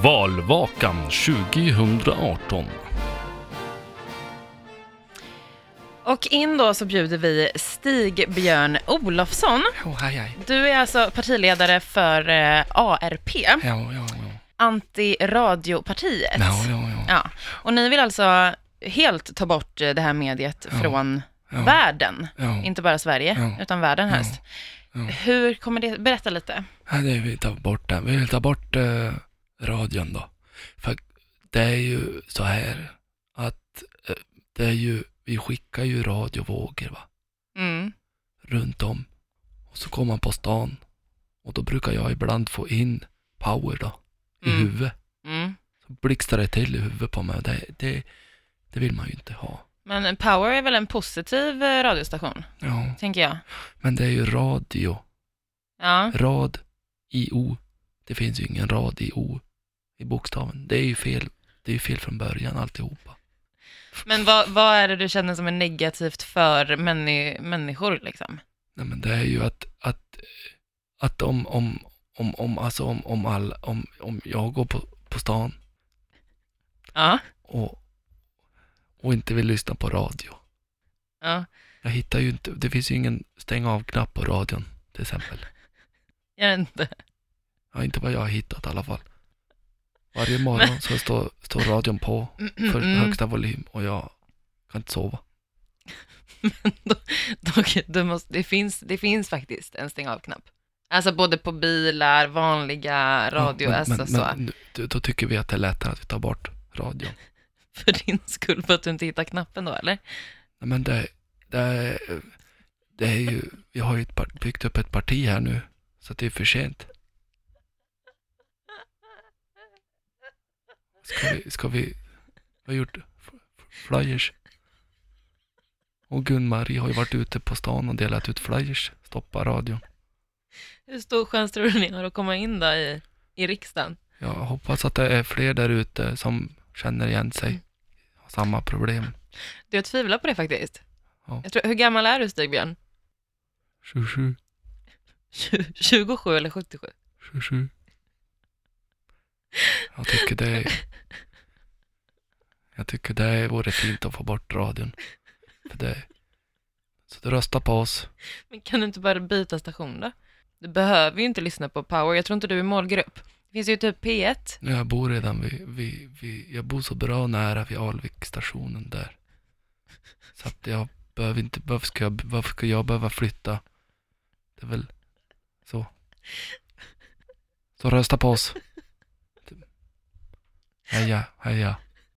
Valvakan 2018. Och in då så bjuder vi Stig Björn Olofsson. Jo, hej, hej. Du är alltså partiledare för eh, ARP, Jo, jo, jo. Antiradiopartiet. Jo, jo, jo. Ja. Och ni vill alltså helt ta bort eh, det här mediet från Ja. världen, Ja. inte bara Sverige, Ja. utan världen helst. Hur kommer det, berätta lite. Ja, det vill vi ta bort den. Vi vill ta bort eh, radion då. För det är ju så här att eh, det är ju, vi skickar ju radiovågor va, Mm. runt om. Och så kommer man på stan och då brukar jag ibland få in power då, i Mm. huvudet. Mm. Så blixtrar det till i huvudet på mig och det, det, det vill man ju inte ha. Men Power är väl en positiv eh, radiostation, Ja, tänker jag. men det är ju radio. Ja, Rad i O. Det finns ju ingen rad i O i bokstaven. Det är ju fel. Det är ju fel från början alltihopa. men vad, vad är det du känner som är negativt för männi- människor liksom? Nej, men det är ju att, att, att om, om, om, om, alltså om, om all, om, om jag går på, på stan Ja, och, och inte vill lyssna på radio. ja. Jag hittar ju inte, det finns ju ingen stäng av-knapp på radion till exempel. Gör det inte. Ja, inte vad jag har hittat i alla fall. Varje morgon så står, står radion på för Mm. högsta volym och jag kan inte sova. Dock, du måste, det, finns, det finns faktiskt en stäng av-knapp. Alltså både på bilar, vanliga radio, men, alltså men, så. Men, nu- då- då tycker vi att det är lättare att vi tar bort radion. För din skull, för att du inte hittar knappen då, eller? Nej, men det, det, är- det är ju, vi har ju ett, par- byggt upp ett parti här nu, så att det är för sent. Ska vi, ska vi, vi har gjort f- f- flyers. Och Gun-Marie har ju varit ute på stan och delat ut flyers, stoppa radion. Hur stor chans tror du ni har att komma in då i, i riksdagen? Jag hoppas att det är fler där ute som känner igen sig, har samma problem. Du, jag tvivlar på det faktiskt. Ja. Jag tror, hur gammal är du, Stigbjörn? 27, 27 eller 77? 27. Jag tycker det Jag tycker det vore fint att få bort radion. För det, så du röstar på oss. Men kan du inte bara byta station då? Du behöver ju inte lyssna på Power, jag tror inte du är målgrupp. Det finns ju typ P1. Nu jag bor redan vid, vid, vid, jag bor så bra nära vid Alvikstationen där. Så att jag behöver inte, varför ska jag, varför ska jag behöva flytta? Det är väl så. Så rösta på oss. Heja, heja.